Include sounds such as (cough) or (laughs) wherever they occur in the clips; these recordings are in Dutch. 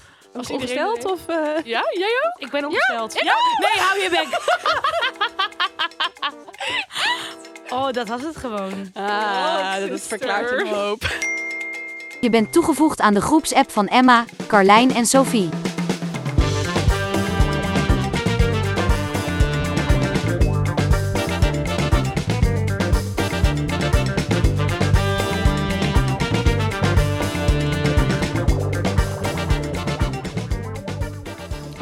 Was Was iedereen ongesteld er? of... eh, Ja, jij ook? Ik ben ongesteld. Ja? Nee, hou je bek. (laughs) Oh, dat was het gewoon. Ah, dat is verklaart een hoop. Je bent toegevoegd aan de groepsapp van Emma, Carlijn en Sophie.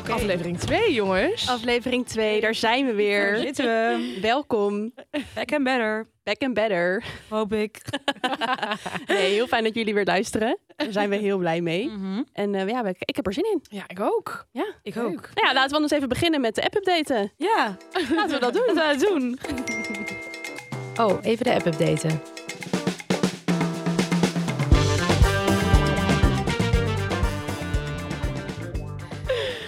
Aflevering 2, jongens. Aflevering 2, daar zijn we Daar weer. zitten we. (laughs) Welkom, Back and better, back and better. hoop ik. (laughs) Nee, heel fijn dat jullie weer luisteren. Daar zijn we heel blij mee. En eh, ja, we- ik heb er zin in. Ja, ik ook. Ja. Ik Leuk. ook. Nou ja, laten we anders even beginnen met de app-updaten. Ja, laten we dat doen. Laten we het doen. Oh, even de app updaten.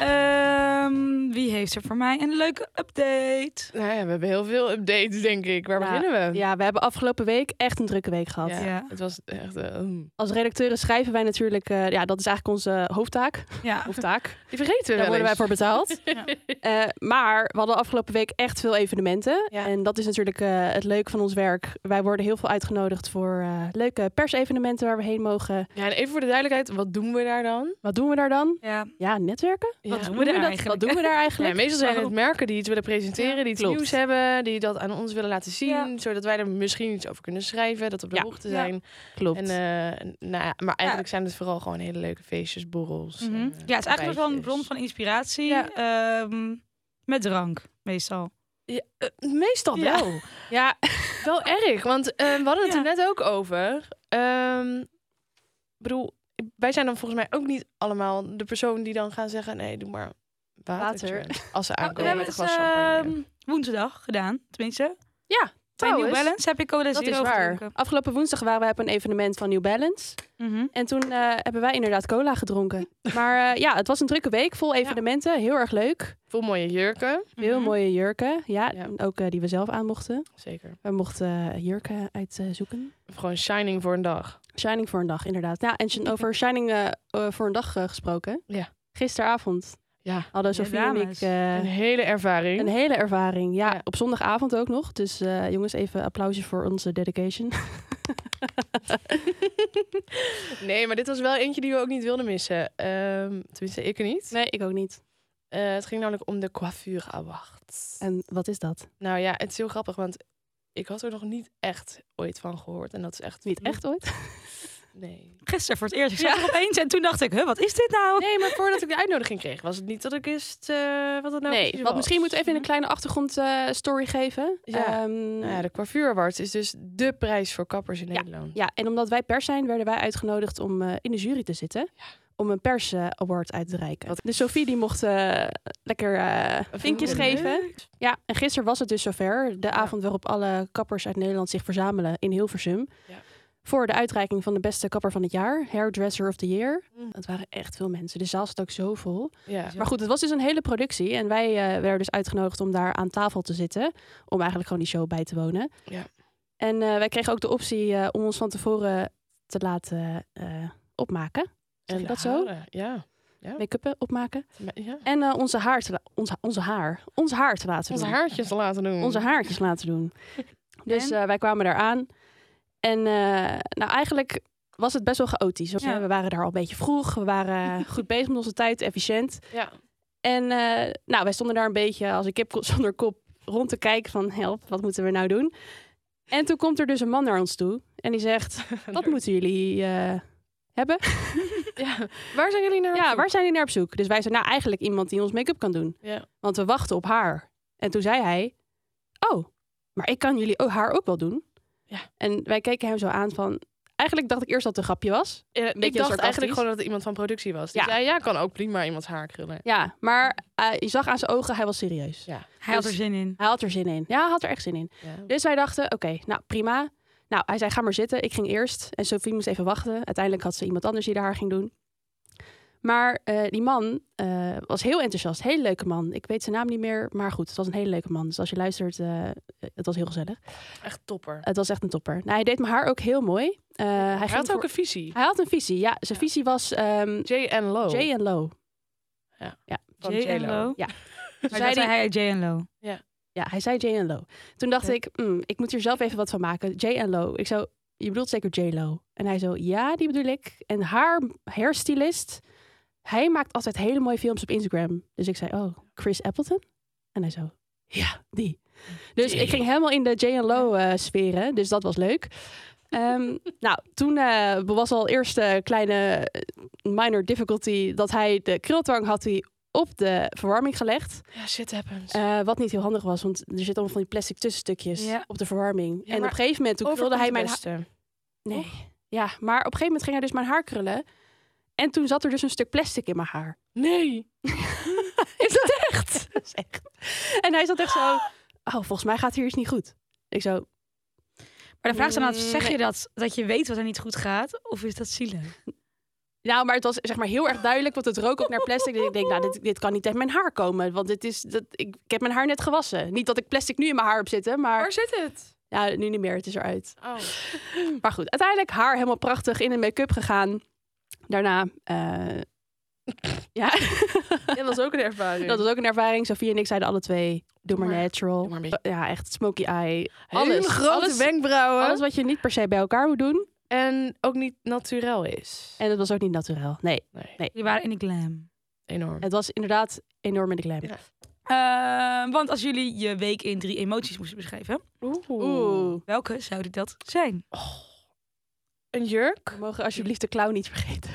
Ehm, wie heeft er voor mij een leuke update? Nou ja, we hebben heel veel updates, denk ik. Waar (laughs) Ja, beginnen we? Ja, we hebben afgelopen week echt een drukke week gehad. Ja, Ja. Het was echt... eh, mm. Als redacteuren schrijven wij natuurlijk, eh, ja, dat is eigenlijk onze hoofdtaak. Ja. Hoofdtaak. Die vergeten we Daar wel worden wij eens. voor betaald. Ja. Eh, maar we hadden afgelopen week echt veel evenementen. Ja. En dat is natuurlijk eh, het leuke van ons werk. Wij worden heel veel uitgenodigd voor eh, leuke persevenementen waar we heen mogen. Ja, en even voor de duidelijkheid, wat doen we daar dan? Wat doen we daar dan? Ja. Ja, netwerken. Ja. doen we Hoe daar dat? eigenlijk? Wat doen we daar Ja, eigenlijk? meestal zijn het Waarom? merken die iets willen presenteren, die iets klopt. nieuws hebben, die dat aan ons willen laten zien, Ja. zodat wij er misschien iets over kunnen schrijven, dat we op de Ja. hoogte Ja. zijn. Klopt. En, eh, nou ja, maar eigenlijk zijn het vooral gewoon hele leuke feestjes, borrels. Mhm. en, ja, eh, het is eigenlijk wel een ontbijtjes. bron van inspiratie. Ja. ehm, met drank, meestal. Ja, eh, meestal Ja. Oh, wel. (laughs) Ja, wel erg. Want eh, we hadden het er Ja. net ook over. Ehm, ik bedoel, wij zijn dan volgens mij ook niet allemaal de persoon die dan gaan zeggen... nee, doe maar water. Water. Als ze Nou, we aankomen hebben met een het glas champagne. ehm, woensdag gedaan, tenminste. Ja, Bij New trouwens, Balance heb ik cola Dat zero is waar. gedronken. Afgelopen woensdag waren wij op een evenement van New Balance. Mhm. En toen eh, hebben wij inderdaad cola gedronken. Maar eh, ja, het was een drukke week. Vol evenementen. Heel erg leuk. Veel mooie jurken. Heel Mhm. mooie jurken. Ja, Ja. en ook eh, die we zelf aan mochten. Zeker. We mochten eh, jurken uitzoeken. Of gewoon shining voor een dag. Shining voor een dag, inderdaad. Ja, en sh- over Shining eh, eh, voor een dag eh, gesproken. Ja. Gisteravond Ja, hadden Ja, Sofie en ik dames. eh, een hele ervaring. een hele ervaring. Ja, Ja. op zondagavond ook nog. Dus eh, jongens, even applausje voor onze dedication. (laughs) (laughs) Nee, maar dit was wel eentje die we ook niet wilden missen. Ehm, tenminste, ik niet. Nee, ik ook niet. Eh, het ging namelijk om de coiffure awards. En wat is dat? Nou ja, het is heel grappig, want ik had er nog niet echt ooit van gehoord. En dat is echt... Niet echt ooit? Nee. Gisteren voor het eerst. Ik zag er opeens en toen dacht ik, huh, wat is dit nou? Nee, maar voordat ik de uitnodiging kreeg, was het niet dat ik wist eh, wat het nou nee, precies want was. misschien moeten we even een kleine achtergrondstory story geven. Ja. Ehm, Nou ja, de coiffure awards is dus de prijs voor kappers in Nederland. ja, en omdat wij pers zijn, werden wij uitgenodigd om eh, in de jury te zitten. Om een pers eh, award uit te reiken. Wat- Dus Sophie die mocht eh, lekker eh, vinkjes Leuk. geven. Ja, en gisteren was het dus zover. De avond waarop alle kappers uit Nederland zich verzamelen in Hilversum. Ja. Voor de uitreiking van de beste kapper van het jaar. Hairdresser of the year. Mm. Dat waren echt veel mensen. dus De zaal zat ook zo vol. Ja. Maar goed, het was dus een hele productie. En wij eh, werden dus uitgenodigd om daar aan tafel te zitten. Om eigenlijk gewoon die show bij te wonen. Ja. En eh, wij kregen ook de optie eh, om ons van tevoren te laten eh, opmaken. Zeg je de dat zo? haren, Ja. Ja. Make-up opmaken. Maar- ja. En eh, onze, haar te la- ons, onze haar. Ons haar te laten Onze doen. haartjes te laten doen. Onze haartjes laten doen. Dus eh, wij kwamen daar aan. En eh, nou, eigenlijk was het best wel chaotisch. Want, Ja. eh, We waren daar al een beetje vroeg. We waren goed bezig met onze tijd, efficiënt. Ja. En eh, nou, wij stonden daar een beetje als een kip (laughs) zonder kop rond te kijken van help, wat moeten we nou doen? En toen komt er dus een man naar ons toe en die zegt, wat moeten jullie eh, hebben? Ja. Waar zijn jullie naar? op Ja, zoek? waar zijn jullie naar op zoek? Dus wij zeiden, nou eigenlijk iemand die ons make-up kan doen, Ja. want we wachten op haar. En toen zei hij, oh, maar ik kan jullie oh, haar ook wel doen. Ja. En wij keken hem zo aan van, eigenlijk dacht ik eerst dat het een grapje was. Ja, ik dacht sarcastisch. eigenlijk gewoon dat het iemand van productie was. Die Ja. zei, ja, kan ook prima iemands haar krullen. Ja, maar eh, je zag aan zijn ogen, hij was serieus. Ja. Hij had er zin in. Hij had er zin in. Ja, hij had er echt zin in. Ja. Dus wij dachten, oké, nou prima. Nou, hij zei, ga maar zitten. Ik ging eerst. En Sophie moest even wachten. Uiteindelijk had ze iemand anders die haar ging doen. Maar eh, die man eh, was heel enthousiast. Hele leuke man. Ik weet zijn naam niet meer. Maar goed, het was een hele leuke man. Dus als je luistert, eh, het was heel gezellig. Echt topper. Het was echt een topper. Nou, hij deed mijn haar ook heel mooi. Eh, hij, Hij ging had ook voor- een Oh. visie. hij had een visie. Ja, zijn visie was ehm J en Low. Jay and Low. Van J en J.Lo. Lo. Ja. (laughs) Maar Zei dat zei die- hij J en Lo. Ja, hij zei J Lo. Toen dacht Oké. ik, "Mm, ik moet hier zelf even wat van maken. J Lo. Ik zo, je bedoelt zeker J Lo. En hij zo, ja, die bedoel ik. En haar hairstylist, hij maakt altijd hele mooie films op Instagram. Dus ik zei, oh, Chris Appleton? En hij zo, ja, die. Dus ik ging helemaal in de J Lo eh sferen. Dus dat was leuk. Ehm, (laughs) nou, toen eh, was al eerst een kleine eh, minor difficulty dat hij de krultang had hij op de verwarming gelegd. Ja, shit happens. Eh, wat niet heel handig was, want er zitten allemaal van die plastic tussenstukjes Ja. op de verwarming. en op maar een gegeven moment toen krulde hij mijn haar. beste. Nee. Ja, maar op een gegeven moment ging hij dus mijn haar krullen. En toen zat er dus een stuk plastic in mijn haar. Nee. (laughs) Is dat echt? (laughs) Dat is echt. En hij zat echt zo. Oh, volgens mij gaat hier iets niet goed. Ik zo. Maar de vraag is dan altijd, zeg Nee. je dat, dat je weet wat er niet goed gaat? Of is dat zielig? Nou, maar het was zeg maar heel erg duidelijk, want het rook ook naar plastic. Dus ik denk, nou, dit, dit kan niet uit mijn haar komen. Want dit is, dat, ik, ik heb mijn haar net gewassen. Niet dat ik plastic nu in mijn haar heb zitten, maar... zit het? Ja, nu niet meer, het is eruit. (laughs) Oh. Maar goed, uiteindelijk haar helemaal prachtig in een make-up gegaan. Daarna, eh, ja, dat was ook een ervaring. dat was ook een ervaring. Sophie en ik zeiden alle twee, doe maar Doe maar- natural. doe maar een beetje. Ja, echt smoky eye. Hele Alles, grote alles- wenkbrauwen. Alles wat je niet per se bij elkaar moet doen. En ook niet naturel is. En het was ook niet naturel. Nee, Nee, Die waren in de glam. enorm. het was inderdaad enorm in de glam. Ja. Ehm, want als jullie je week in drie emoties moesten beschrijven, Oeh. Oeh. welke zouden dat zijn? Een jurk? We mogen alsjeblieft de clown niet vergeten.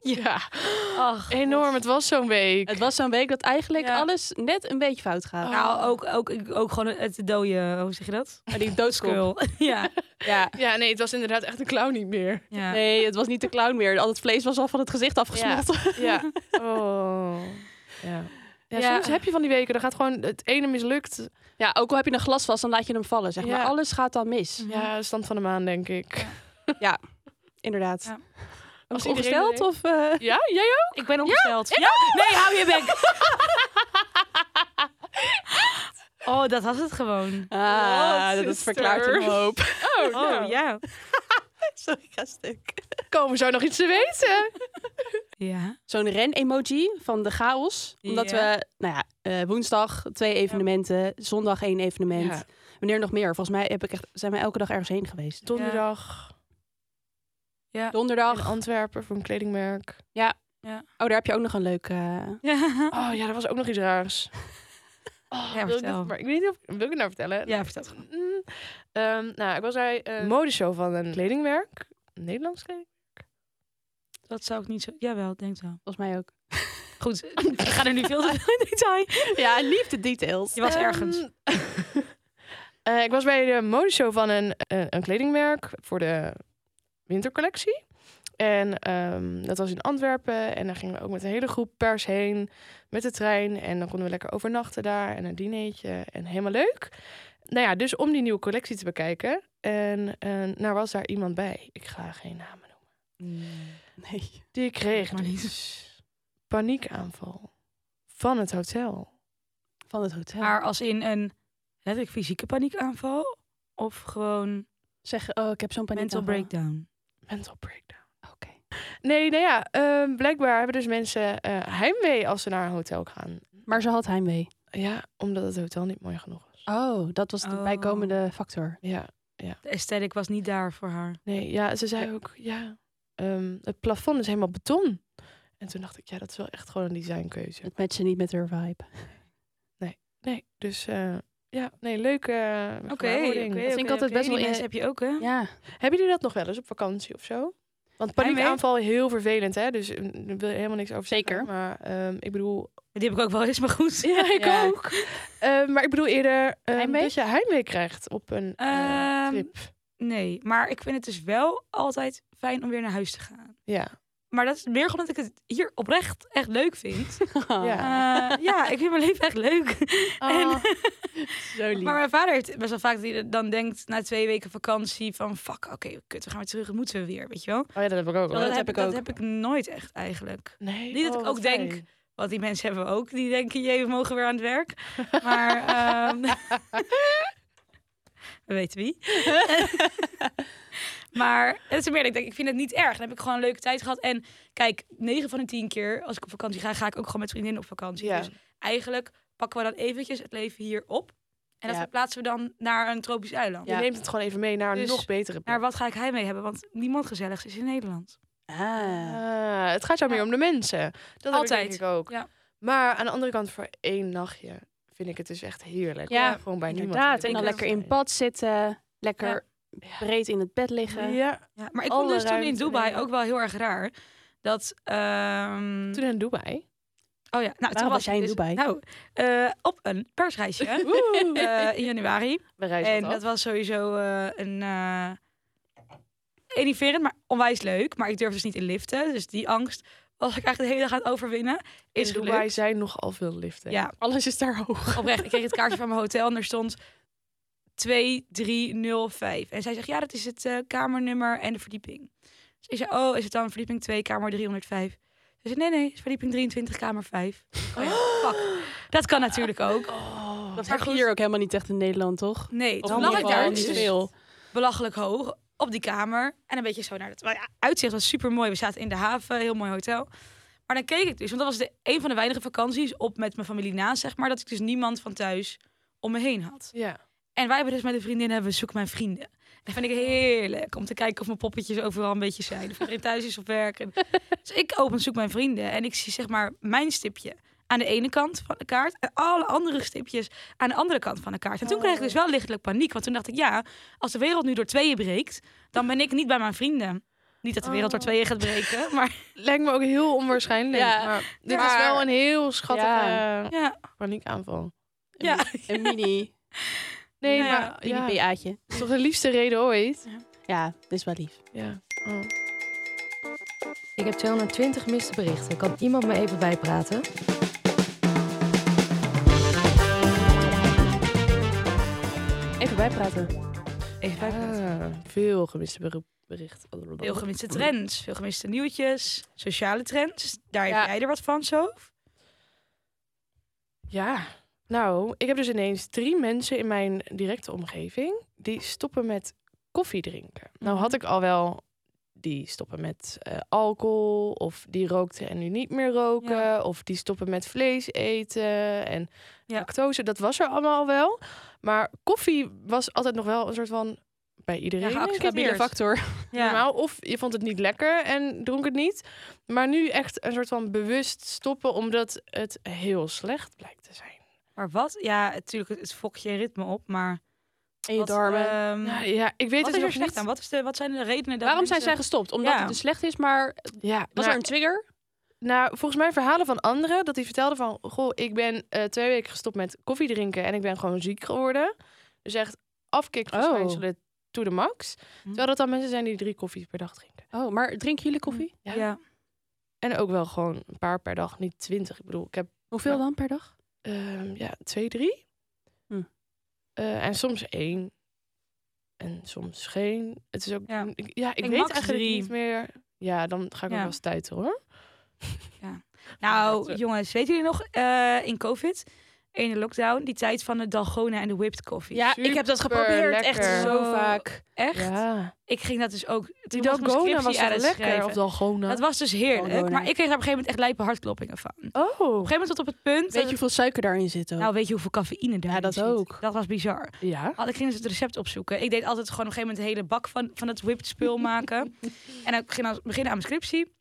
Ja. Ach, Enorm, het was zo'n week. Het was zo'n week dat eigenlijk Ja. alles net een beetje fout gaat. Oh. Nou, ook, ook, ook gewoon het dode, hoe zeg je dat? En die doodskop. Skul. (laughs) ja. Ja. Ja, nee, het was inderdaad echt een clown niet (laughs) meer. ja. Nee, het was niet de clown meer. Al het vlees was al van het gezicht afgesmolten. Ja. Oh. Ja. Ja, Ja. soms heb je van die weken, dan gaat gewoon het ene mislukt. Ja, ook al heb je een glas vast, dan laat je hem vallen, zeg maar. Ja. Alles gaat dan mis. Ja, stand van de maan, denk ik. Inderdaad. Ja. Was iedereen ongesteld dat of... eh, Ja, jij ook? Ik ben ongesteld. Ja? Nee, hou je (laughs) bek! Oh, dat was het gewoon. Ah, dat is sister. verklaard een hoop. Oh, Oh, nou. ja. (laughs) Sorry, ik ga stuk. Komen zo nog iets te weten? Ja. Zo'n ren-emoji van de chaos. Omdat Ja. we, nou ja, eh, woensdag twee evenementen, zondag één evenement. Ja. Wanneer nog meer? Volgens mij heb ik echt, zijn we elke dag ergens heen geweest. Donderdag Ja. in Donderdag. Antwerpen voor een kledingmerk. Oh, daar heb je ook nog een leuk... eh, (laughs) Ja, Oh ja, dat was ook nog iets raars. Oh, Ja, wil ik, vertel. dit- maar ik weet niet of wil ik het nou vertellen. ja vertel. gewoon. Mm, ehm, nou, ik was bij een modeshow van een kledingmerk. Een Nederlands kleding. Dat zou ik niet zo... Jawel, ik denk wel. volgens mij ook. Goed, ik ga er nu veel te veel in detail. Ja, liefde details. Je was Ehm, ergens. (laughs) eh, ik was bij de modeshow van een, eh, een, een kledingmerk voor de wintercollectie. En ehm, dat was in Antwerpen. En daar gingen we ook met een hele groep pers heen met de trein. En dan konden we lekker overnachten daar en een dinertje. En helemaal leuk. Nou ja, dus om die nieuwe collectie te bekijken. En eh, nou was daar iemand bij. Ik ga geen namen noemen. Nee. Die kreeg Maar niet. dus paniekaanval van het hotel. Van het hotel. Maar als in een letterlijk fysieke paniekaanval... Of gewoon Zeggen, oh, ik heb zo'n paniek. mental breakdown. Mental breakdown. Oké. Nee, nou ja, ehm, blijkbaar hebben dus mensen eh, heimwee als ze naar een hotel gaan. Maar ze had heimwee. Ja, omdat het hotel niet mooi genoeg was. Oh, dat was de Oh. bijkomende factor. Ja, De aesthetic was niet daar voor haar. nee, ja, ze zei ook, ja, ehm, het plafond is helemaal beton. En toen dacht ik, ja, dat is wel echt gewoon een designkeuze. Het matchte niet met haar vibe. Nee, dus eh, ja, nee, leuke eh, gewaarwording. oké. vind ik altijd best wel Die in- mensen heb je ook, hè? Ja. Hebben jullie dat nog wel eens op vakantie of zo? Want Heimwee? paniekaanval heel vervelend, hè? Dus eh, daar wil je helemaal niks over zeggen. Zeker. Maar ehm, (laughs) ik bedoel, Die heb ik ook wel eens, maar goed. (laughs) Ja, ik Ja. ook. Ehm, maar ik bedoel eerder ehm, Heimwee? dat je heimwee krijgt op een eh, Ehm, trip. Nee, maar ik vind het dus wel altijd fijn om weer naar huis te gaan. Ja. Maar dat is weer omdat ik het hier oprecht echt leuk (laughs) vind. Ja. Eh, ja, ik vind mijn leven echt leuk. Ah, (laughs) Zo lief. Eh, Maar mijn vader heeft best wel vaak dat hij dan denkt na twee weken vakantie van... Fuck, oké, kut, we gaan weer terug, moeten we weer, weet je wel? Oh ja, dat heb ik ook. Terwijl Hoor. dat heb ik Dat ook. heb ik nooit echt eigenlijk. Nee, Niet dat oh, ik wat ook denk- fijn. Want die mensen hebben we ook, die denken, jee, we mogen weer aan het (laughs) werk. Maar (laughs) (laughs) ehm, we weten wie. Maar het is meer dat ik denk, ik vind het niet erg. Dan heb ik gewoon een leuke tijd gehad. En kijk, 9 van de 10 keer als ik op vakantie ga, ga ik ook gewoon met vriendinnen op vakantie. Ja. Dus eigenlijk pakken we dan eventjes het leven hier op. En dat Ja. verplaatsen we dan naar een tropisch eiland. Je neemt het gewoon even mee naar een Dus- nog betere plek. Maar wat ga ik hij mee hebben? Want niemand gezelligs is in Nederland. Ah, het gaat jou meer Ja. om de mensen. Dat Altijd. Altijd. denk ik ook. Ja. Maar aan de andere kant, voor één nachtje vind ik het dus echt heerlijk. Ja, Om gewoon bij Inderdaad. niemand. En dan Ik ook. lekker in bad zitten. Lekker breed in het bed liggen. Ja, Ja, maar ik Alle vond dus toen in ruimte Dubai nemen. ook wel heel erg raar. Dat, ehm, toen in Dubai. oh ja, nou, toen was jij in ik dus- Dubai? Nou, eh, op een persreisje (laughs) (laughs) eh, in januari. We reizen En wat dat af. was sowieso eh, een eh enerverend, maar onwijs leuk. Maar ik durf dus niet in liften. Dus die angst was ik eigenlijk de hele dag aan het overwinnen. Is in Dubai gelukt. zijn nogal veel liften. Ja, Alles is daar hoog. oprecht. Ik kreeg het (laughs) kaartje van mijn hotel en er stond 2305. En zij zegt, ja, dat is het eh, kamernummer en de verdieping. Dus ik zei, oh, is het dan verdieping 2, kamer 305? Ze zei, nee, nee, het is verdieping 23, kamer 5. Oh ja, (gasps) fuck. Oh. Dat kan natuurlijk ook. Dat Maar heb je goed. hier ook helemaal niet echt in Nederland, toch? Nee, Of toen in lag ieder ik geval daar. niet dus (laughs) veel. belachelijk hoog op die kamer. En een beetje zo naar het wel ja, uitzicht was super mooi. We zaten in de haven, heel mooi hotel. Maar dan keek ik dus, want dat was de, een van de weinige vakanties op met mijn familie naast, zeg maar, dat ik dus niemand van thuis om me heen had. Ja. En wij hebben dus met een vriendin hebben we zoek mijn vrienden. Dat vind ik heerlijk om te kijken of mijn poppetjes overal een beetje zijn. Of iedereen thuis is op werk. En- Dus ik open zoek mijn vrienden en ik zie zeg maar mijn stipje aan de ene kant van de kaart en alle andere stipjes aan de andere kant van de kaart. En toen kreeg ik Oh. dus wel lichtelijk paniek, want toen dacht ik ja, als de wereld nu door tweeën breekt, dan ben ik niet bij mijn vrienden. Niet dat de wereld door Oh. tweeën gaat breken, maar (laughs) Lijkt me ook heel onwaarschijnlijk. Ja. Maar dit Maar- is wel een heel schattige eh, ja, paniekaanval. ja. Een mini, Nee, Nou ja, maar mini ja. BA'tje. toch de liefste reden ooit. Ja, dat is wel lief. Ja. Oh. Ik heb 220 miste berichten. Kan iemand me even bijpraten? Even bijpraten. Even bijpraten. Ja, Ah, veel gemiste beroep- bericht. Veel gemiste trends, veel gemiste nieuwtjes, sociale trends. Daar heb Ja. jij er wat van, zo? Ja, nou, ik heb dus ineens drie mensen in mijn directe omgeving die stoppen met koffie drinken. Nou had ik al wel die stoppen met eh, alcohol of die rookten en nu niet meer roken of die stoppen met vlees eten en Ja. lactose. Dat was er allemaal al wel, maar koffie was altijd nog wel een soort van bij iedereen. denk ik, Stabiele meer factor. normaal. Of je vond het niet lekker en dronk het niet. Maar nu echt een soort van bewust stoppen omdat het heel slecht blijkt te zijn. Maar wat? Ja, natuurlijk, het- het fokt je ritme op, maar... En je wat, darmen. ehm, Nou ja, ik weet wat het is er nog slecht niet. aan? Wat, is de, wat zijn de redenen dat Waarom zijn zij mensen- gestopt? Omdat Ja. het dus slecht is, maar Ja, was nou, er een trigger? nou, volgens mij verhalen van anderen dat die vertelden van, goh, ik ben eh, twee weken gestopt met koffie drinken en ik ben gewoon ziek geworden. Dus echt Oh. afkikverschijnselen to the max. Hm. Terwijl dat dan mensen zijn die drie koffies per dag drinken. Oh, maar drinken jullie koffie? Ja. Ja. En ook wel gewoon een paar per dag, niet twintig. Ik bedoel, ik heb Hoeveel Ja. dan per dag? Ehm, ja, twee, drie. Hm. Eh, en soms één. En soms geen. Het is ook... Ja. Ja, ik, ja, ik denk weet max eigenlijk drie. niet meer. Ja, dan ga ik Ja. ook wel eens tijd hoor. Nou, Laten we- jongens, weten jullie nog eh, in COVID, in de lockdown, die tijd van de dalgona en de whipped coffee? Ja, ik heb dat geprobeerd, echt Echt lekker. zo vaak. Echt? Ja. Ik ging dat dus ook. Die toen was mijn dalgona was scriptie aan toch het lekker? schrijven. Of dalgona? Dat was dus heerlijk. Dalgona. Maar ik kreeg daar op een gegeven moment echt lijpe hartkloppingen van. Op een Oh. gegeven moment tot op het punt. Weet je dat het- hoeveel suiker daarin zit ook? nou, weet je hoeveel cafeïne daar Ja, dat zit? ook. Dat was bizar. Ja. Had- Ik ging dus het recept opzoeken. Ik deed altijd gewoon op een gegeven moment een hele bak van, van het whipped spul maken. en dan ging ik beginnen aan mijn scriptie.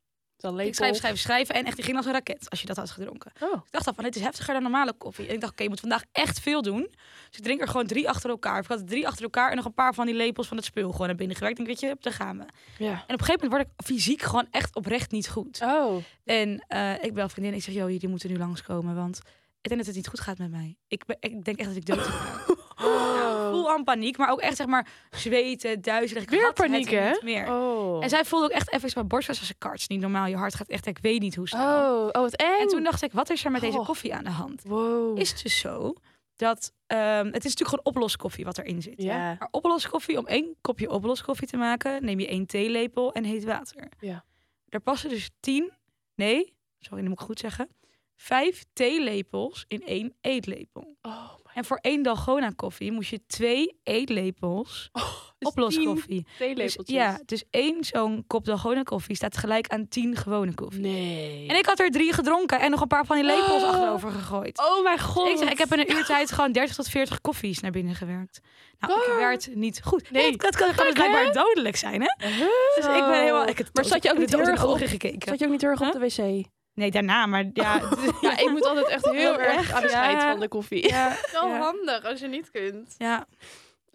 Ik schrijf, schrijf, schrijven. En echt, die ging als een raket als je dat had gedronken. Oh. Ik dacht dan van, dit is heftiger dan normale koffie. En ik dacht, oké, je moet vandaag echt veel doen. Dus ik drink er gewoon drie achter elkaar. Ik had er drie achter elkaar en nog een paar van die lepels van het spul gewoon naar binnen gewerkt. Ik denk, weet je, daar gaan we. En op Ja. een gegeven moment word ik fysiek gewoon echt oprecht niet goed. Oh, En eh, ik bel vriendin en ik zeg, joh, jullie moeten nu langskomen, want ik denk dat het niet goed gaat met mij. Ik, ben, ik denk echt dat ik dood ga. Oh, Nou, Voel aan paniek, maar ook echt zeg maar zweten, duizelig. Ik Weer had het paniek, hè? niet meer. Oh. En zij voelde ook echt even, mijn borst was als een karts. Niet normaal, je hart gaat echt, ik weet niet hoe snel. oh. Oh, wat eng. En toen dacht ik, wat is er met deze Goh. koffie aan de hand? Wow. Is het dus zo dat, ehm, het is natuurlijk gewoon oploskoffie wat erin zit. Ja. Maar oploskoffie, om één kopje oploskoffie te maken, neem je één theelepel en heet water. Ja. Daar passen dus tien, nee, sorry, dat moet ik goed zeggen, vijf theelepels in één eetlepel. Oh, En voor één dalgona koffie moest je twee eetlepels dus oploskoffie. Twee Dus, ja, dus één zo'n kop dalgona koffie staat gelijk aan tien gewone koffie. nee. En ik had er drie gedronken en nog een paar van die lepels Oh. achterover gegooid. oh mijn god. Ik zeg, ik heb in een uur tijd gewoon 30 tot 40 koffies naar binnen gewerkt. Nou, Waar? ik werd niet goed. Nee. Nee, dat, dat kan, kan dus Gek, hè? blijkbaar dodelijk zijn, hè? Dus ik ben helemaal... Ik heb Maar dood- zat je ook ik heb niet dood in heel de erg ogen gekeken? Zat je ook niet terug op de wc? Nee, daarna, maar ja... (laughs) ja, (laughs) ik moet altijd echt heel erg aan de Afscheid ja. van de koffie. ja, Wel Ja. handig als je niet kunt. ja.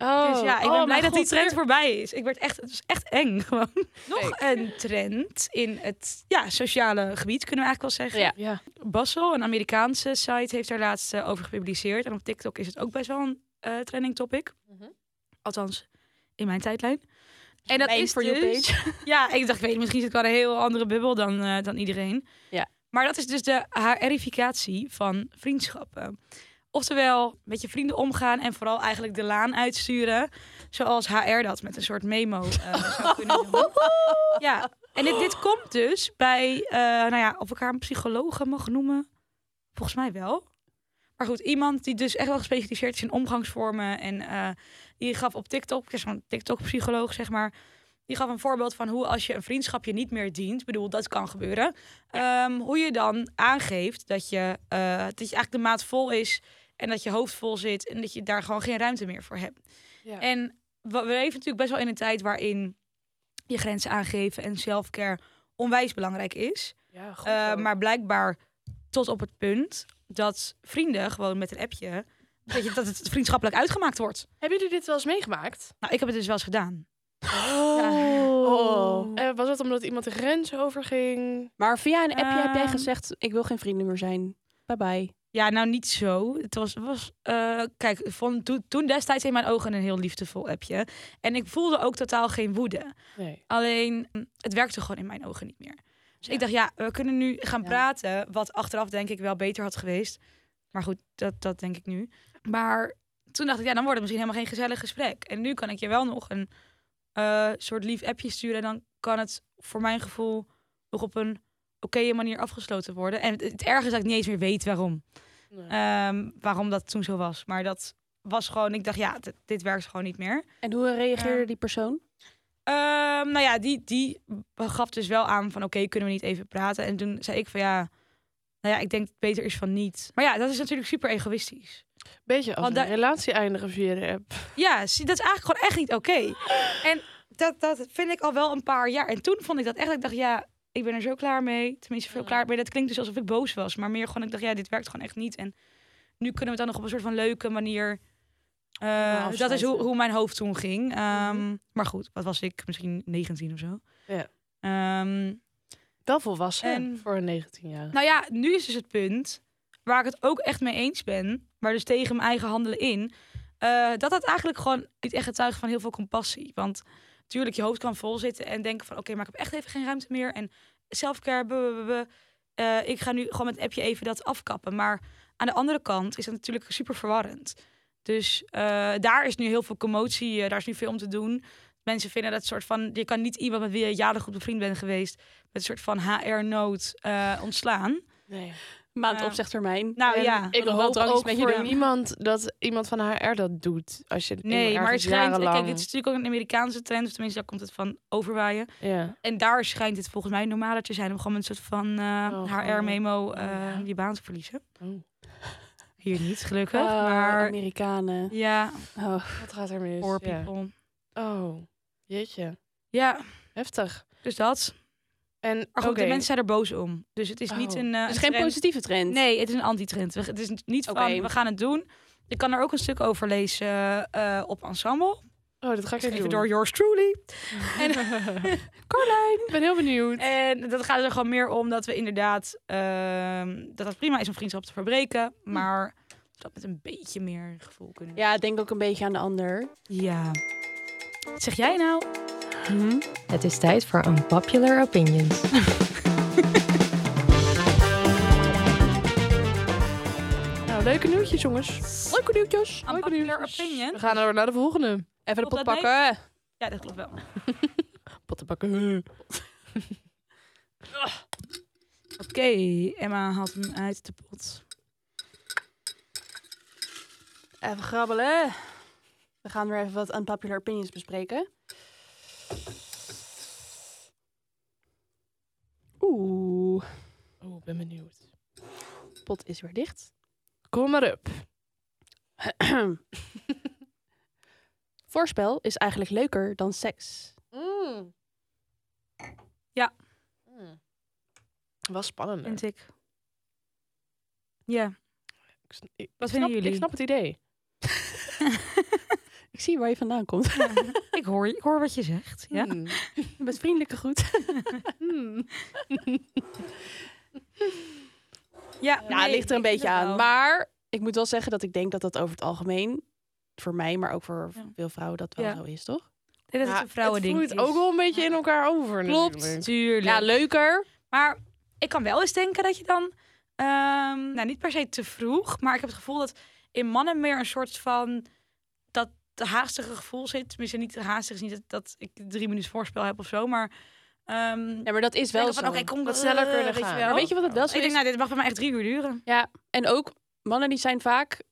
Oh, dus ja, ik ben oh mijn blij dat die god, trend weer- voorbij is. Ik werd echt, het was echt eng (laughs) gewoon. Nog Kijk. een trend in het ja, sociale gebied, kunnen we eigenlijk wel zeggen. Ja. Bassel, een Amerikaanse site, heeft daar laatst eh, over gepubliceerd. En op TikTok is het ook best wel een eh, trending topic. Mhm. Althans, in mijn tijdlijn. En dat Mijn is For You dus... Ja, ik dacht, ik weet niet, misschien zit ik wel een heel andere bubbel dan, eh, dan iedereen. Ja. Maar dat is dus de HRificatie van vriendschappen. Oftewel, met je vrienden omgaan en vooral eigenlijk de laan uitsturen. Zoals HR dat met een soort memo eh, zou kunnen doen. Ja, en dit, dit komt dus bij, eh, nou ja, of ik haar een psychologe mag noemen. Volgens mij wel. Maar goed, iemand die dus echt wel gespecialiseerd is in omgangsvormen. En eh, die gaf op TikTok, er is zo'n TikTok-psycholoog zeg maar. Die gaf een voorbeeld van hoe als je een vriendschap je niet meer dient. Ik bedoel, dat kan gebeuren. ehm, hoe je dan aangeeft dat je, eh, dat je eigenlijk de maat vol is. En dat je hoofd vol zit. En dat je daar gewoon geen ruimte meer voor hebt. Ja. En we, we leven natuurlijk best wel in een tijd waarin je grenzen aangeven en selfcare onwijs belangrijk is. Ja, goed Eh, ook. maar blijkbaar tot op het punt dat vrienden gewoon met een appje. Dat, je, dat het vriendschappelijk uitgemaakt wordt. Hebben jullie dit wel eens meegemaakt? Nou, ik heb het dus wel eens gedaan. Oh. Eh, was dat omdat iemand de grens overging? Maar via een appje heb jij Ehm. gezegd, ik wil geen vrienden meer zijn. Bye bye. Ja, nou niet zo. Het was, was eh, kijk, ik vond toen- toen destijds in mijn ogen een heel liefdevol appje. En ik voelde ook totaal geen woede. Nee. Alleen, mm, het werkte gewoon in mijn ogen niet meer. Dus ik dacht, ja, we kunnen nu gaan Ja. praten. Wat achteraf denk ik wel beter had geweest. Maar goed, dat, dat denk ik nu. Maar toen dacht ik, ja, dan wordt het misschien helemaal geen gezellig gesprek. En nu kan ik je wel nog een eh, soort lief appje sturen. En dan kan het voor mijn gevoel nog op een oké manier afgesloten worden. En het, het ergste is dat ik niet eens meer weet waarom. Nee. Ehm, waarom dat toen zo was. Maar dat was gewoon, ik dacht, ja, dit, dit werkt gewoon niet meer. En hoe reageerde Ja. die persoon? Ehm, nou ja, die, die gaf dus wel aan van, oké, kunnen we niet even praten? En toen zei ik van, ja, nou ja, ik denk dat het beter is van niet. Maar ja, dat is natuurlijk super egoïstisch. Beetje als Want een daar- relatie eindigen via de app. Ja, zie, dat is eigenlijk gewoon echt niet oké. En dat, dat vind ik al wel een paar jaar. En toen vond ik dat echt, ik dacht, ja, ik ben er zo klaar mee. Tenminste, veel Mm. klaar mee. Dat klinkt dus alsof ik boos was. Maar meer gewoon, ik dacht, ja, dit werkt gewoon echt niet. En nu kunnen we het dan nog op een soort van leuke manier... eh, dat is afsluiten. Mhm. hoe, hoe mijn hoofd toen ging. Ehm, Maar goed, wat was ik? Misschien 19 of zo. Ja. Ehm, Wel volwassen En- voor een 19-jarige. nou ja, nu is dus het punt waar ik het ook echt mee eens ben, maar dus tegen mijn eigen handelen in, eh, dat dat eigenlijk gewoon niet echt getuigt van heel veel compassie. Want natuurlijk, je hoofd kan vol zitten en denken van oké, maar ik heb echt even geen ruimte meer en selfcare, buh, buh, buh, buh. Eh, ik ga nu gewoon met het appje even dat afkappen. Maar aan de andere kant is dat natuurlijk super verwarrend. Dus eh, daar is nu heel veel commotie, eh, daar is nu veel om te doen. Mensen vinden dat soort van, je kan niet iemand met wie je jaren goed bevriend bent geweest, met een soort van HR-nood eh, ontslaan. Nee. Maand Ja. opzegtermijn. Nou En ja, ik Wat een hoop boterham is ook met je voor doen. niemand dat iemand van HR dat doet. Als je nee, maar het ergens schijnt. Kijk, jarenlang- dit is natuurlijk ook een Amerikaanse trend, of tenminste, daar komt het van overwaaien. Ja. En daar schijnt het volgens mij normaler te zijn om gewoon een soort van eh, Oh, gewoon- HR-memo oh, ja. eh, je baan te verliezen. Oh. Hier niet, gelukkig. Oh, maar Amerikanen. ja, (laughs) Oh. Wat gaat er mis? poor Dus, Ja. people. Oh, jeetje. Ja, Heftig. dus dat. En Maar goed, oké. de mensen zijn er boos om. Dus het is niet Oh. een. eh, Het is een geen trend. positieve trend. Nee, het is een antitrend. We- Het is niet van, Oké. we gaan het doen. Ik kan er ook een stuk over lezen eh, op Ensemble. Oh, dat ga ik even Geschreven doen. door yours (laughs) truly. En Ik ben heel benieuwd. En dat gaat er gewoon meer om dat we inderdaad... ehm, dat het prima is om vriendschap te verbreken. Maar dat met een beetje meer gevoel kunnen. Ja, denk ook een beetje aan de ander. Ja. Wat zeg jij nou? Het is tijd voor Unpopular Opinions. Nou, leuke nieuwtjes, jongens. Leuke nieuwtjes. Leuke Unpopular nieuwtjes. opinion. We gaan door naar de volgende. Even de Klopt pot dat, pakken. Ja, dat klopt wel. Pottenbakken. Oké, Emma haalt hem uit de pot. Even grabbelen. We gaan weer even wat unpopular opinions bespreken. Oeh, Oh, ik ben benieuwd. pot is weer dicht. Kom maar op. (clears throat) Voorspel is eigenlijk leuker dan (laughs) seks. Ja. Mm. Wel spannender. Vind ik. (laughs) Ja. Ik sn- ik- Wat ik vinden snap, jullie? Ik snap het idee. Ik zie waar je vandaan komt. (laughs) Ja, ik, hoor, ik hoor wat je zegt. Ja. Hmm. Je bent vriendelijke goed. Hmm. Ja, nou, het ligt er een beetje aan. Maar ik moet wel zeggen dat ik denk dat dat over het algemeen, voor mij, maar ook voor Ja. veel vrouwen, dat wel Ja. zo is, toch? dit is Ja, een vrouwending. Het vloeit ook wel een beetje Ja. in elkaar over. Klopt, natuurlijk. tuurlijk. Ja, leuker. Maar ik kan wel eens denken dat je dan, ehm, nou niet per se te vroeg, maar ik heb het gevoel dat in mannen meer een soort van dat haastige gevoel zit. Tenminste, niet haastig is niet dat, dat ik drie minuten voorspel heb of zo, maar. ehm Ja, maar dat is wel denken zo. van, oké, kom Dat eh, sneller kunnen weet je gaan. wel. Maar weet je wat het wel zo ik is? denk, nou, dit mag bij mij echt drie uur duren. Ja, en ook mannen die zijn vaak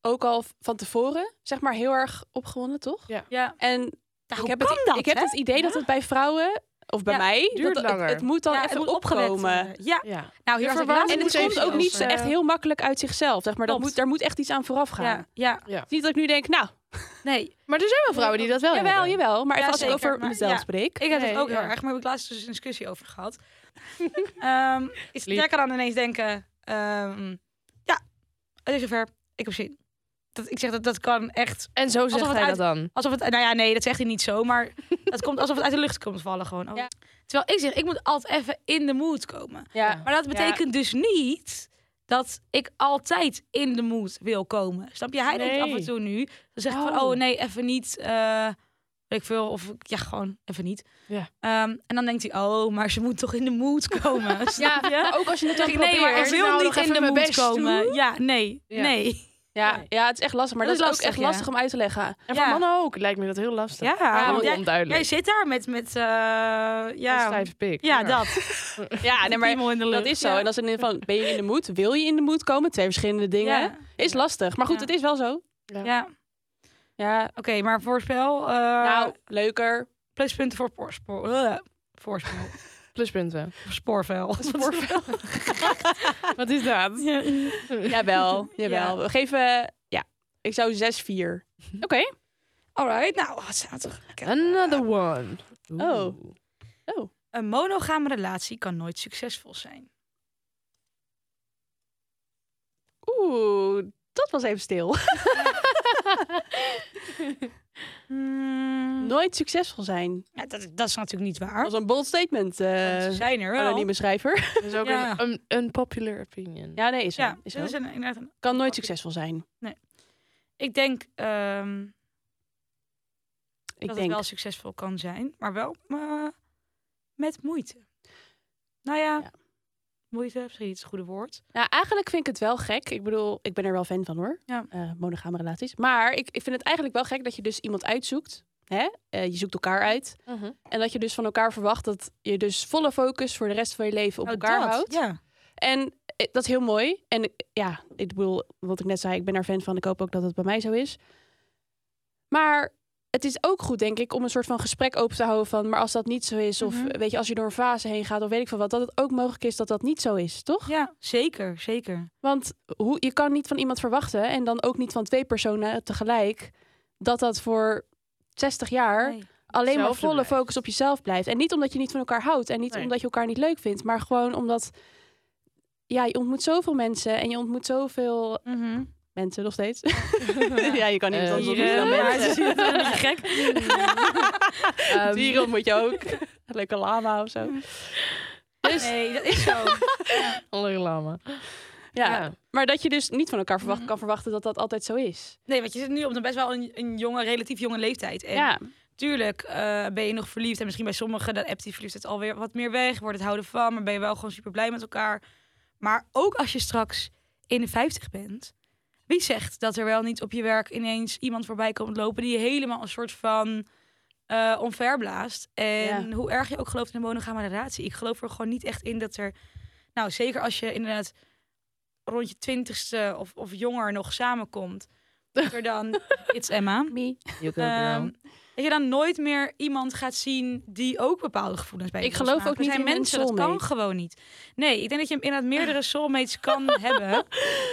ook al v- van tevoren, zeg maar, heel erg opgewonden, toch? Ja, En nou, ik hoe heb, kan het, dat? ik heb hè? het idee dat Ja. het bij vrouwen, of bij Ja, mij, dat duurt het- langer. Het, moet dan Ja, het even moet opgewekt opkomen. worden. Ja, Ja. nou hier Ja, had ik verwarring laatst En moet het eh, een even komt ook discussie niet over. echt heel makkelijk uit zichzelf, zeg maar. Dat Klopt. moet, daar moet echt iets aan vooraf over. gaan. Ja, ja, Het is niet dat ik nu denk, nou, nee, Maar er zijn wel vrouwen die dat wel jawel, hebben. jawel. Maar Ja, even als zeker, ik over maar- mezelf ja. spreek. Ik heb Nee, het ook ja. heel erg, maar heb ik laatst dus een discussie over (laughs) gehad. Ehm is Lief. jij kan dan ineens denken, ehm, ja, het is zover, ik heb zin. Dat, ik zeg dat dat kan echt, En zo Alsof zegt het hij dat uit- dan. alsof het, nou ja, nee, dat zegt hij niet zo, (laughs) maar dat komt alsof het uit de lucht komt vallen gewoon. Oh. Ja. Terwijl ik zeg, ik moet altijd even in de mood komen. Ja. Maar dat betekent dus niet dat ik altijd in de mood wil komen. Snap je? Hij denkt Nee. af en toe nu, dan zegt hij van, Oh. oh nee, even niet, eh, weet ik veel, of ja, gewoon even niet. Ja. Ehm, en dan denkt hij, oh, maar ze moet toch in de mood (laughs) komen, snap je? ook als je het Dan dan denk ik, nee, maar Oh, probeer ik ik wil nou nog niet in even de mijn mood best doen? komen. Ja, nee, Ja. nee. Ja, ja, het is echt lastig. Maar dat, Dat is is ook echt lastig, ja. lastig om uit te leggen. En Ja. voor mannen ook. Lijkt me dat heel lastig. Ja, Heel want jij, jij onduidelijk. zit daar met, met eh, Een ja, stijve pik. ja, dat. (laughs) (laughs) Ja, nee, maar Piemel in de lucht. dat is zo. Ja. En als in ieder geval, ben je in de mood? Wil je in de mood komen? Twee verschillende dingen. Ja, Is lastig. Maar goed, Ja. het is wel zo. ja. oké, Ja, maar voorspel. eh, nou, leuker. pluspunten voor voorspoor. eh, voorspel. (laughs) (laughs) Pluspunten. Spoorvel. Spoorvel. Wat is dat? Jawel, jawel. We geven, ja, ik zou 6-4. Oké. Alright, nou, wat staat er? eh, Another one. Oh. Oeh. eh, Een monogame relatie kan nooit succesvol zijn. Oeh, dat was even stil. Nooit succesvol zijn. Hmm, Ja, dat, dat is natuurlijk niet waar. Dat was een bold statement, want eh ze zijn er Ah. wel. anonieme (laughs) schrijver. Dat is ook Ja. een, een unpopular opinion. Ja, nee, is zo. Ja, is dit zo. is een, inderdaad een- Kan nooit succesvol zijn. ik denk ehm, Ik dat denk. het wel succesvol kan zijn, maar wel eh, met moeite. Nou ja, Ja. moeite, misschien niet het goede woord. Nou, eigenlijk vind ik het wel gek. Ik bedoel, ik ben er wel fan van hoor. Ja. Eh, monogame relaties. Maar ik, ik vind het eigenlijk wel gek dat je dus iemand uitzoekt. Hè? Eh, je zoekt elkaar uit. Mhm. En dat je dus van elkaar verwacht dat je dus volle focus voor de rest van je leven op Oh, elkaar dat, houdt. Ja. En eh, dat is heel mooi. En eh, ja, ik bedoel, wat ik net zei, ik ben er fan van. Ik hoop ook dat het bij mij zo is. Maar het is ook goed, denk ik, om een soort van gesprek open te houden van... maar als dat niet zo is, of Mhm. eh, weet je, als je door een fase heen gaat... of weet ik veel wat, dat het ook mogelijk is dat dat niet zo is, toch? ja, zeker, zeker. Want hoe, je kan niet van iemand verwachten en dan ook niet van twee personen tegelijk... dat dat voor 60 jaar Nee. alleen maar Hetzelfde volle blijft. focus op jezelf blijft. En niet omdat je niet van elkaar houdt en niet Nee. omdat je elkaar niet leuk vindt, maar gewoon omdat ja, je ontmoet zoveel mensen en je ontmoet zoveel (laughs) Mhm. mensen nog steeds. (laughs) ja, je kan niet Eh, anders Dieren, ontmoeten dan maar (laughs) mensen. ze zitten een (laughs) beetje gek. Ehm, Dieren ontmoet je ook. (laughs) Leuke lama of zo. Dus Nee, dat is zo. Andere lama. ja. maar dat je dus niet van elkaar verwacht, kan verwachten dat dat altijd zo is. Nee, want je zit nu op een best wel een, een jonge, relatief jonge leeftijd. En ja, tuurlijk eh, ben je nog verliefd. En misschien bij sommigen, dan appt die verliefdheid alweer wat meer weg. Wordt het houden van, maar ben je wel gewoon super blij met elkaar. Maar ook als je straks in de 50 bent. Wie zegt dat er wel niet op je werk ineens iemand voorbij komt lopen... die je helemaal een soort van eh onver blaast. En hoe erg je ook gelooft in een monogame relatie. Ik geloof er gewoon niet echt in dat er... Nou, zeker als je inderdaad rond je twintigste of, of jonger nog samenkomt. dat Er dan, it's Emma. Me. You go, Ehm, girl. dat je dan nooit meer iemand gaat zien die ook bepaalde gevoelens bij je Ik losmaakt. geloof ook Er niet zijn in een mensen, dat kan soulmate. gewoon niet. Nee, ik denk dat je inderdaad (laughs) meerdere soulmates kan hebben.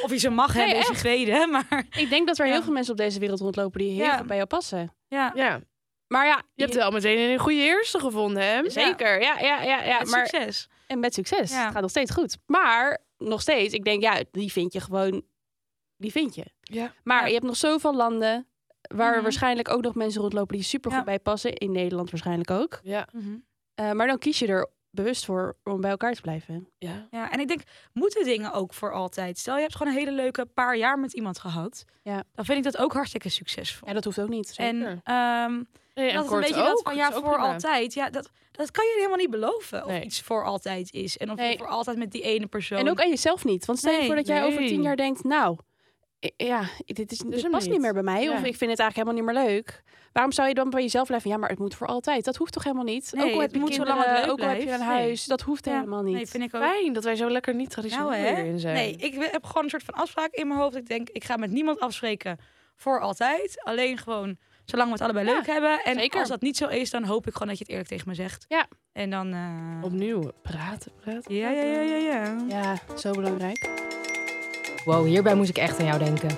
Of je ze mag Nee, hebben, is een echt. tweede. (laughs) Maar Ik denk dat er Ja. heel veel mensen op deze wereld rondlopen die heel Ja. goed bij jou passen. ja, Ja, Maar ja, je hebt wel meteen een goede eerste gevonden, hè? zeker. Ja, ja, ja, ja. met Maar, succes. en met succes. Ja. Het gaat nog steeds goed. Maar nog steeds, ik denk, ja, die vind je gewoon. Die vind je. Ja. Maar Ja. je hebt nog zoveel landen waar Mhm. waarschijnlijk ook nog mensen rondlopen die super goed Ja. bij passen. In Nederland waarschijnlijk ook. Ja. Eh, maar dan kies je er bewust voor om bij elkaar te blijven. Ja. Ja, en ik denk, moeten dingen ook voor altijd? Stel, je hebt gewoon een hele leuke paar jaar met iemand gehad. Ja. Dan vind ik dat ook hartstikke succesvol. En dat hoeft ook niet. zeker. en ehm, Nee, en dat het kort een beetje dat ook, van dat ja, is ook voor prima. altijd. Ja, dat, dat kan je helemaal niet beloven. Of Nee. iets voor altijd is. En of je Nee. voor altijd met die ene persoon. En ook aan jezelf niet. Want stel je Nee, voor dat jij over nee. tien jaar denkt, nou, i- ja, dit, is, dit hem past niet. niet meer bij mij. Of Ja. ik vind het eigenlijk helemaal niet meer leuk. Waarom zou je dan bij jezelf blijven? Ja, maar het moet voor altijd. Dat hoeft toch helemaal niet? Nee, ook al het heb je moet zolang kinderen, het leuk ook al heb je blijft. een Nee. huis. Dat hoeft Ja. helemaal niet. Nee, vind ik ook. Fijn dat wij zo lekker niet traditioneel Nou, hè? hierin zijn. Nee, ik we- heb gewoon een soort van afspraak in mijn hoofd. Ik denk, ik ga met niemand afspreken voor altijd. Alleen gewoon zolang we het allebei Ja, leuk hebben. En zeker. als dat niet zo is, dan hoop ik gewoon dat je het eerlijk tegen me zegt. Ja. En dan... eh, Opnieuw, praten, praten. Ja, ja, ja, ja, ja. Ja, zo belangrijk. Wow, hierbij moest ik echt aan jou denken.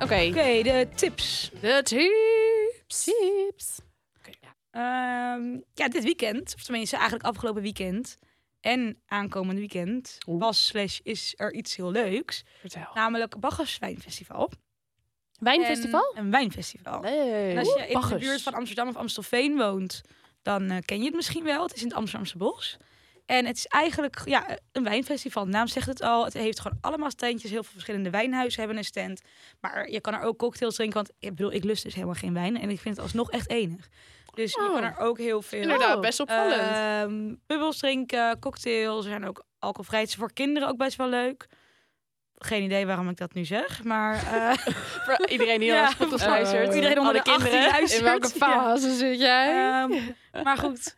Oké. Oké, de tips. De tips. Tips. Ehm, ja, dit weekend, of tenminste eigenlijk afgelopen weekend... en aankomend weekend was slash is er iets heel leuks. Vertel. Namelijk Baggers Wijnfestival. Wijnfestival? En- Een wijnfestival. Nee. En als je in de Baggers. buurt van Amsterdam of Amstelveen woont, dan eh, ken je het misschien wel. Het is in het Amsterdamse bos. En het is eigenlijk ja, een wijnfestival. De naam zegt het al. Het heeft gewoon allemaal standjes. Heel veel verschillende wijnhuizen hebben een stand. Maar je kan er ook cocktails drinken. Want ik bedoel, ik lust dus helemaal geen wijn. En ik vind het alsnog echt enig. Dus je Oh. kan er ook heel veel... Inderdaad, Oh. best opvallend. Ehm, bubbels drinken, cocktails. Er zijn ook alcoholvrijheid voor kinderen ook best wel leuk. Geen idee waarom ik dat nu zeg, maar... eh, (laughs) Voor iedereen die Ja. al op de luistert. Eh, iedereen onder Alle de 18 luistert. in welke fase zit jij? Ehm, (laughs) maar goed,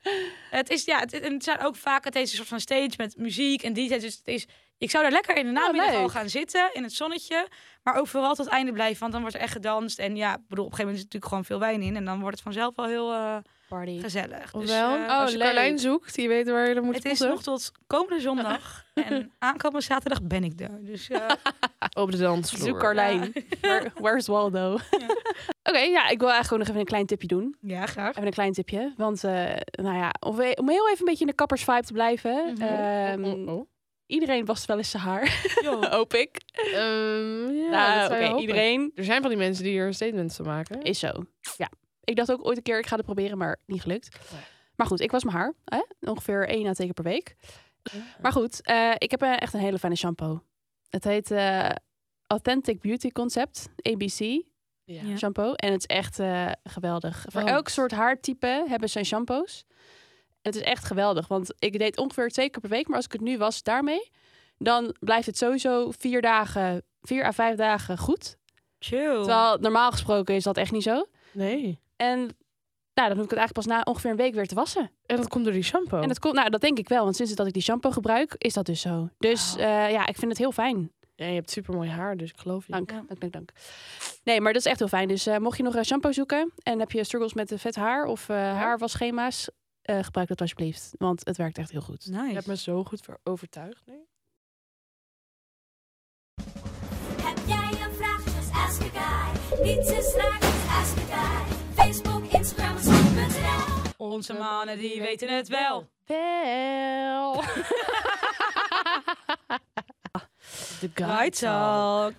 het is ja, het, en het zijn ook vaak het is een soort van stage met muziek en DJ's. Dus het is, ik zou daar lekker in de namiddag leuk. al gaan zitten in het zonnetje, maar ook vooral tot het einde blijven, want dan wordt er echt gedanst en ja, ik bedoel, op een gegeven moment zit natuurlijk gewoon veel wijn in en dan wordt het vanzelf wel heel eh, Party. gezellig. Dus, Ofwel, eh, als je leuk. Carlijn zoekt, die weet waar je dan moet het is spotten. nog tot komende (laughs) zondag en aankomende zaterdag ben ik daar. Dus (laughs) eh, op de dansvloer. Zoek Carlijn. (laughs) Where- where's Waldo? (laughs) Oké, ja, ik wil eigenlijk gewoon nog even een klein tipje doen. ja, graag. Even een klein tipje. Want eh, nou ja, om, we- om heel even een beetje in de kappers vibe te blijven. Mhm. ehm, Oh, oh. Iedereen wast wel eens zijn haar, (laughs) Jo. hoop ik. Ehm, ja, nou, dat zou je oké, hopen. iedereen Er zijn van die mensen die hier een statement van maken. is zo. Ja. Ik dacht ook ooit een keer, ik ga het proberen, maar niet gelukt. Nee. Maar goed, ik was mijn haar. Hè? Ongeveer één à twee keer per week. Ah. Maar goed, eh, ik heb eh, echt een hele fijne shampoo. Het heet eh, Authentic Beauty Concept, ABC. Ja. Ja. shampoo. En het is echt eh, geweldig. Voor Want- elk soort haartype hebben zijn shampoos. Het is echt geweldig, want ik deed ongeveer twee keer per week. Maar als ik het nu was daarmee, dan blijft het sowieso vier dagen, vier à vijf dagen goed. Chill. Terwijl normaal gesproken is dat echt niet zo. Nee. En nou, dan hoef ik het eigenlijk pas na ongeveer een week weer te wassen. En dat komt door die shampoo. En dat komt, nou, dat denk ik wel, want sinds dat ik die shampoo gebruik, is dat dus zo. Dus eh, ja, ik vind het heel fijn. Ja, je hebt super mooi haar, dus ik geloof je. Dank, Ja. dank, dank, dank. Nee, maar dat is echt heel fijn. Dus eh, mocht je nog een shampoo zoeken en heb je struggles met eh, vet haar of eh haarwasschema's, eh, gebruik dat alsjeblieft. Want het werkt echt heel goed. Je hebt me Nice. zo goed ver overtuigd nu. Heb jij een vraag? Just ask a guy. Niets is raar, just ask a guy. Facebook, Instagram, Snap.nl. Onze mannen die weten het wel. Wel. De Guy talk.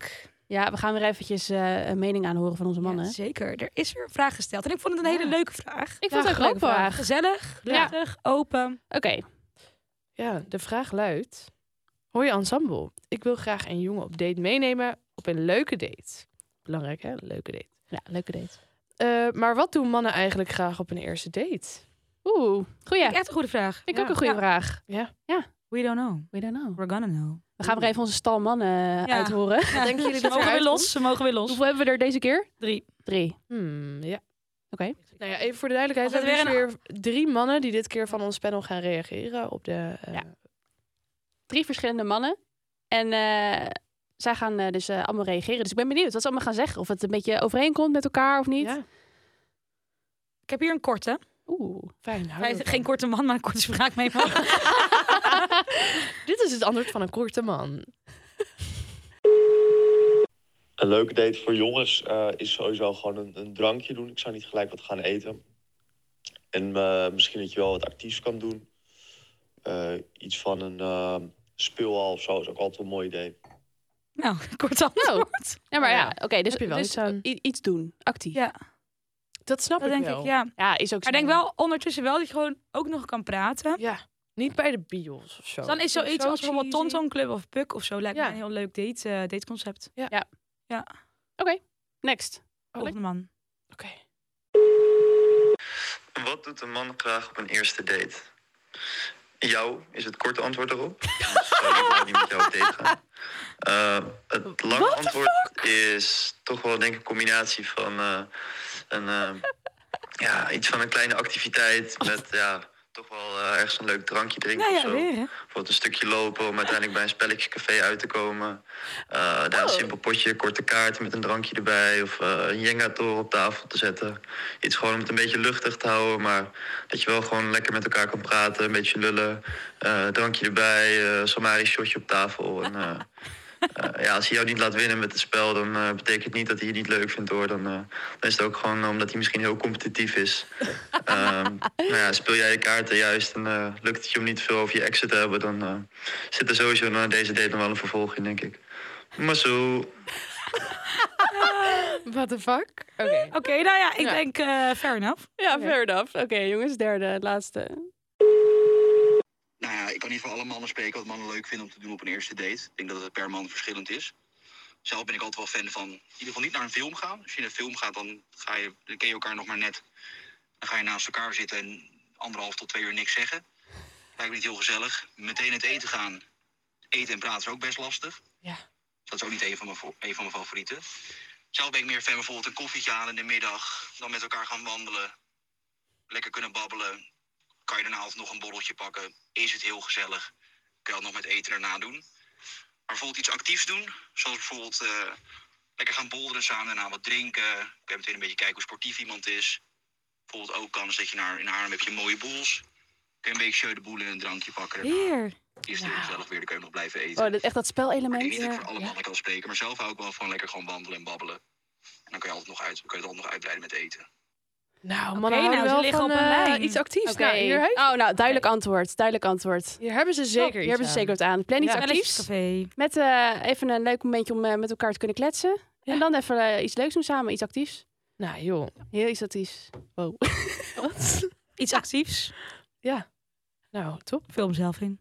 ja, we gaan weer eventjes eh, een mening aanhoren van onze mannen. Ja, zeker. Er is weer een vraag gesteld. En ik vond het een hele leuke vraag. Ik vond het ook een leuke grappig. vraag. Gezellig, Ja. luchtig, open. Oké, Ja, de vraag luidt... Hoi ensemble, ik wil graag een jongen op date meenemen op een leuke date. Belangrijk hè, leuke date. ja, leuke date. Eh, maar wat doen mannen eigenlijk graag op een eerste date? Oeh, goeie. Vind ik Echt een goede vraag. Vind ik Ja. ook een goede Ja. vraag. We don't know. We don't know. We're gonna know. We gaan weer even onze stal mannen Ja. uithoren. Ja. denken jullie Ze dat mogen weer eruit los. Ze mogen weer los. Hoeveel hebben we er deze keer? Drie. Drie. Hmm, ja. Oké, Nou ja, even voor de Als duidelijkheid. We het hebben weer, weer drie mannen die dit keer van ons panel gaan reageren op de... eh, Ja. Drie verschillende mannen. En eh, zij gaan eh, dus eh, allemaal reageren. Dus ik ben benieuwd wat ze allemaal gaan zeggen. Of het een beetje overeenkomt met elkaar of niet. ja, Ik heb hier een korte. Oeh. fijn. Hij houden is we geen van. korte man, maar een korte spraak mee. (laughs) Dit is het antwoord van een korte man. Een leuke date voor jongens eh, is sowieso gewoon een, een drankje doen. Ik zou niet gelijk wat gaan eten. En eh, misschien dat je wel wat actiefs kan doen. Eh, iets van een eh, speelhal of zo is ook altijd een mooi idee. nou, kort Oh, antwoord. Ja, maar ja, Ja. oké. dus Heb je wel dus iets aan? i- iets doen. Actief. Ja, Dat snap dat ik denk wel. ik, ja. Ja, is ook Maar denk wel ondertussen wel dat je gewoon ook nog kan praten. Ja, niet bij de bios of zo. Dus dan is zoiets Zo als bijvoorbeeld cheesy. Tonton Club of Puk of zo. Lijkt Ja. me een heel leuk date, eh, dateconcept. Next. Volgende man. Oké. Wat doet een man graag op een eerste date? Jou is het korte antwoord erop. Anders zou ik maar niet met jou op date gaan. Eh, het lange antwoord is toch wel denk ik een combinatie van eh, een, eh, ja, iets van een kleine activiteit met ja, toch wel eh, ergens een leuk drankje drinken Nou of ja, zo. weer hè. Bijvoorbeeld een stukje lopen om uiteindelijk bij een spelletjescafé uit te komen. Eh, daar een Oh. simpel potje, korte kaart met een drankje erbij. Of eh, een Jenga-toren op tafel te zetten. Iets gewoon om het een beetje luchtig te houden. Maar dat je wel gewoon lekker met elkaar kan praten. Een beetje lullen. Eh, drankje erbij, eh Samari shotje op tafel. En, eh, eh, ja, als hij jou niet laat winnen met het spel, dan eh, betekent het niet dat hij je niet leuk vindt hoor. Dan, eh, dan is het ook gewoon omdat hij misschien heel competitief is. Ehm, nou ja, speel jij je kaarten juist en eh, lukt het je om niet veel over je exit te hebben, dan eh, zit er sowieso na deze date nog wel een vervolg in, denk ik. Maar zo. What the fuck? Oké. Oké, nou ja, ik Ja. denk eh fair enough. Ja, fair enough. Oké, jongens. Derde, laatste. Nou ja, ik kan niet voor alle mannen spreken wat mannen leuk vinden om te doen op een eerste date. Ik denk dat het per man verschillend is. Zelf ben ik altijd wel fan van in ieder geval niet naar een film gaan. Als je naar een film gaat, dan, ga je, dan ken je elkaar nog maar net. Dan ga je naast elkaar zitten en anderhalf tot twee uur niks zeggen. Lijkt me niet heel gezellig. Meteen het eten gaan. Eten en praten is ook best lastig. Ja. Dat is ook niet een van mijn, vo- een van mijn favorieten. Zelf ben ik meer fan bijvoorbeeld een koffietje halen in de middag. Dan met elkaar gaan wandelen. Lekker kunnen babbelen. Kan je daarna altijd nog een borreltje pakken. Is het heel gezellig. Kun je dat nog met eten daarna doen. Maar bijvoorbeeld iets actiefs doen. Zoals bijvoorbeeld eh, lekker gaan bolderen samen. Daarna wat drinken. Kun je meteen een beetje kijken hoe sportief iemand is. Bijvoorbeeld ook kans dat je naar, in Haarlem heb je mooie boels. Kun je een beetje show de boel in een drankje pakken. daarna. Hier. Is het heel gezellig weer. Dan kun je nog blijven eten. Oh, dat, echt dat Ik spelelement. denk niet dat ik Ja. voor alle mannen kan spreken, maar zelf hou ik wel van lekker gewoon wandelen en babbelen. En dan kun je, altijd nog uit, kun je het altijd nog uitbreiden met eten. Nou, Oké, mannen houden nou, ze wel liggen van, op een eh, lijn. iets actiefs. Oké. Nou, hier, heeft- Oh, nou, duidelijk antwoord. Duidelijk antwoord. hier hebben ze Top, zeker Hier iets hebben ze aan. zeker wat aan. Plan iets Ja. actiefs. Spelletjescafé. Met eh, even een leuk momentje om eh, met elkaar te kunnen kletsen. En dan even eh, iets leuks doen samen. Iets actiefs. Nou joh. Heel iets actiefs. Wow. (laughs) Wat? Iets actiefs. nou, top. Film zelf in.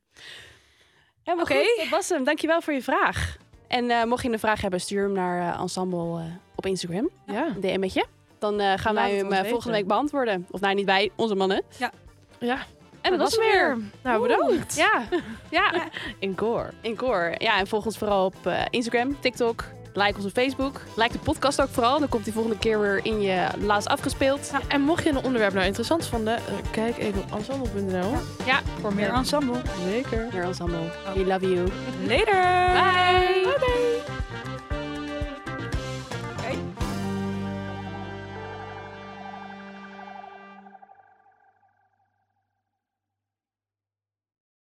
Helemaal Oké. goed. Dat was hem. Dankjewel voor je vraag. En eh, mocht je een vraag hebben, stuur hem naar eh, Ensemble eh, op Instagram. Ja. Een DM'tje. Dan eh, gaan Laat wij het hem ons eh, weten. volgende week beantwoorden. Of nou, niet wij, onze mannen. Ja. En dat, was hem weer. Nou, bedankt. Ja. ja. In gore. in koor. Ja, en volg ons vooral op eh, Instagram, TikTok. Like ons op Facebook. Like de podcast ook vooral. Dan komt die volgende keer weer in je laatst afgespeeld. Nou, en mocht je een onderwerp nou interessant vonden, eh, kijk even op ensemble.nl. Voor meer ensemble. Zeker. Meer ensemble. We love you. Later!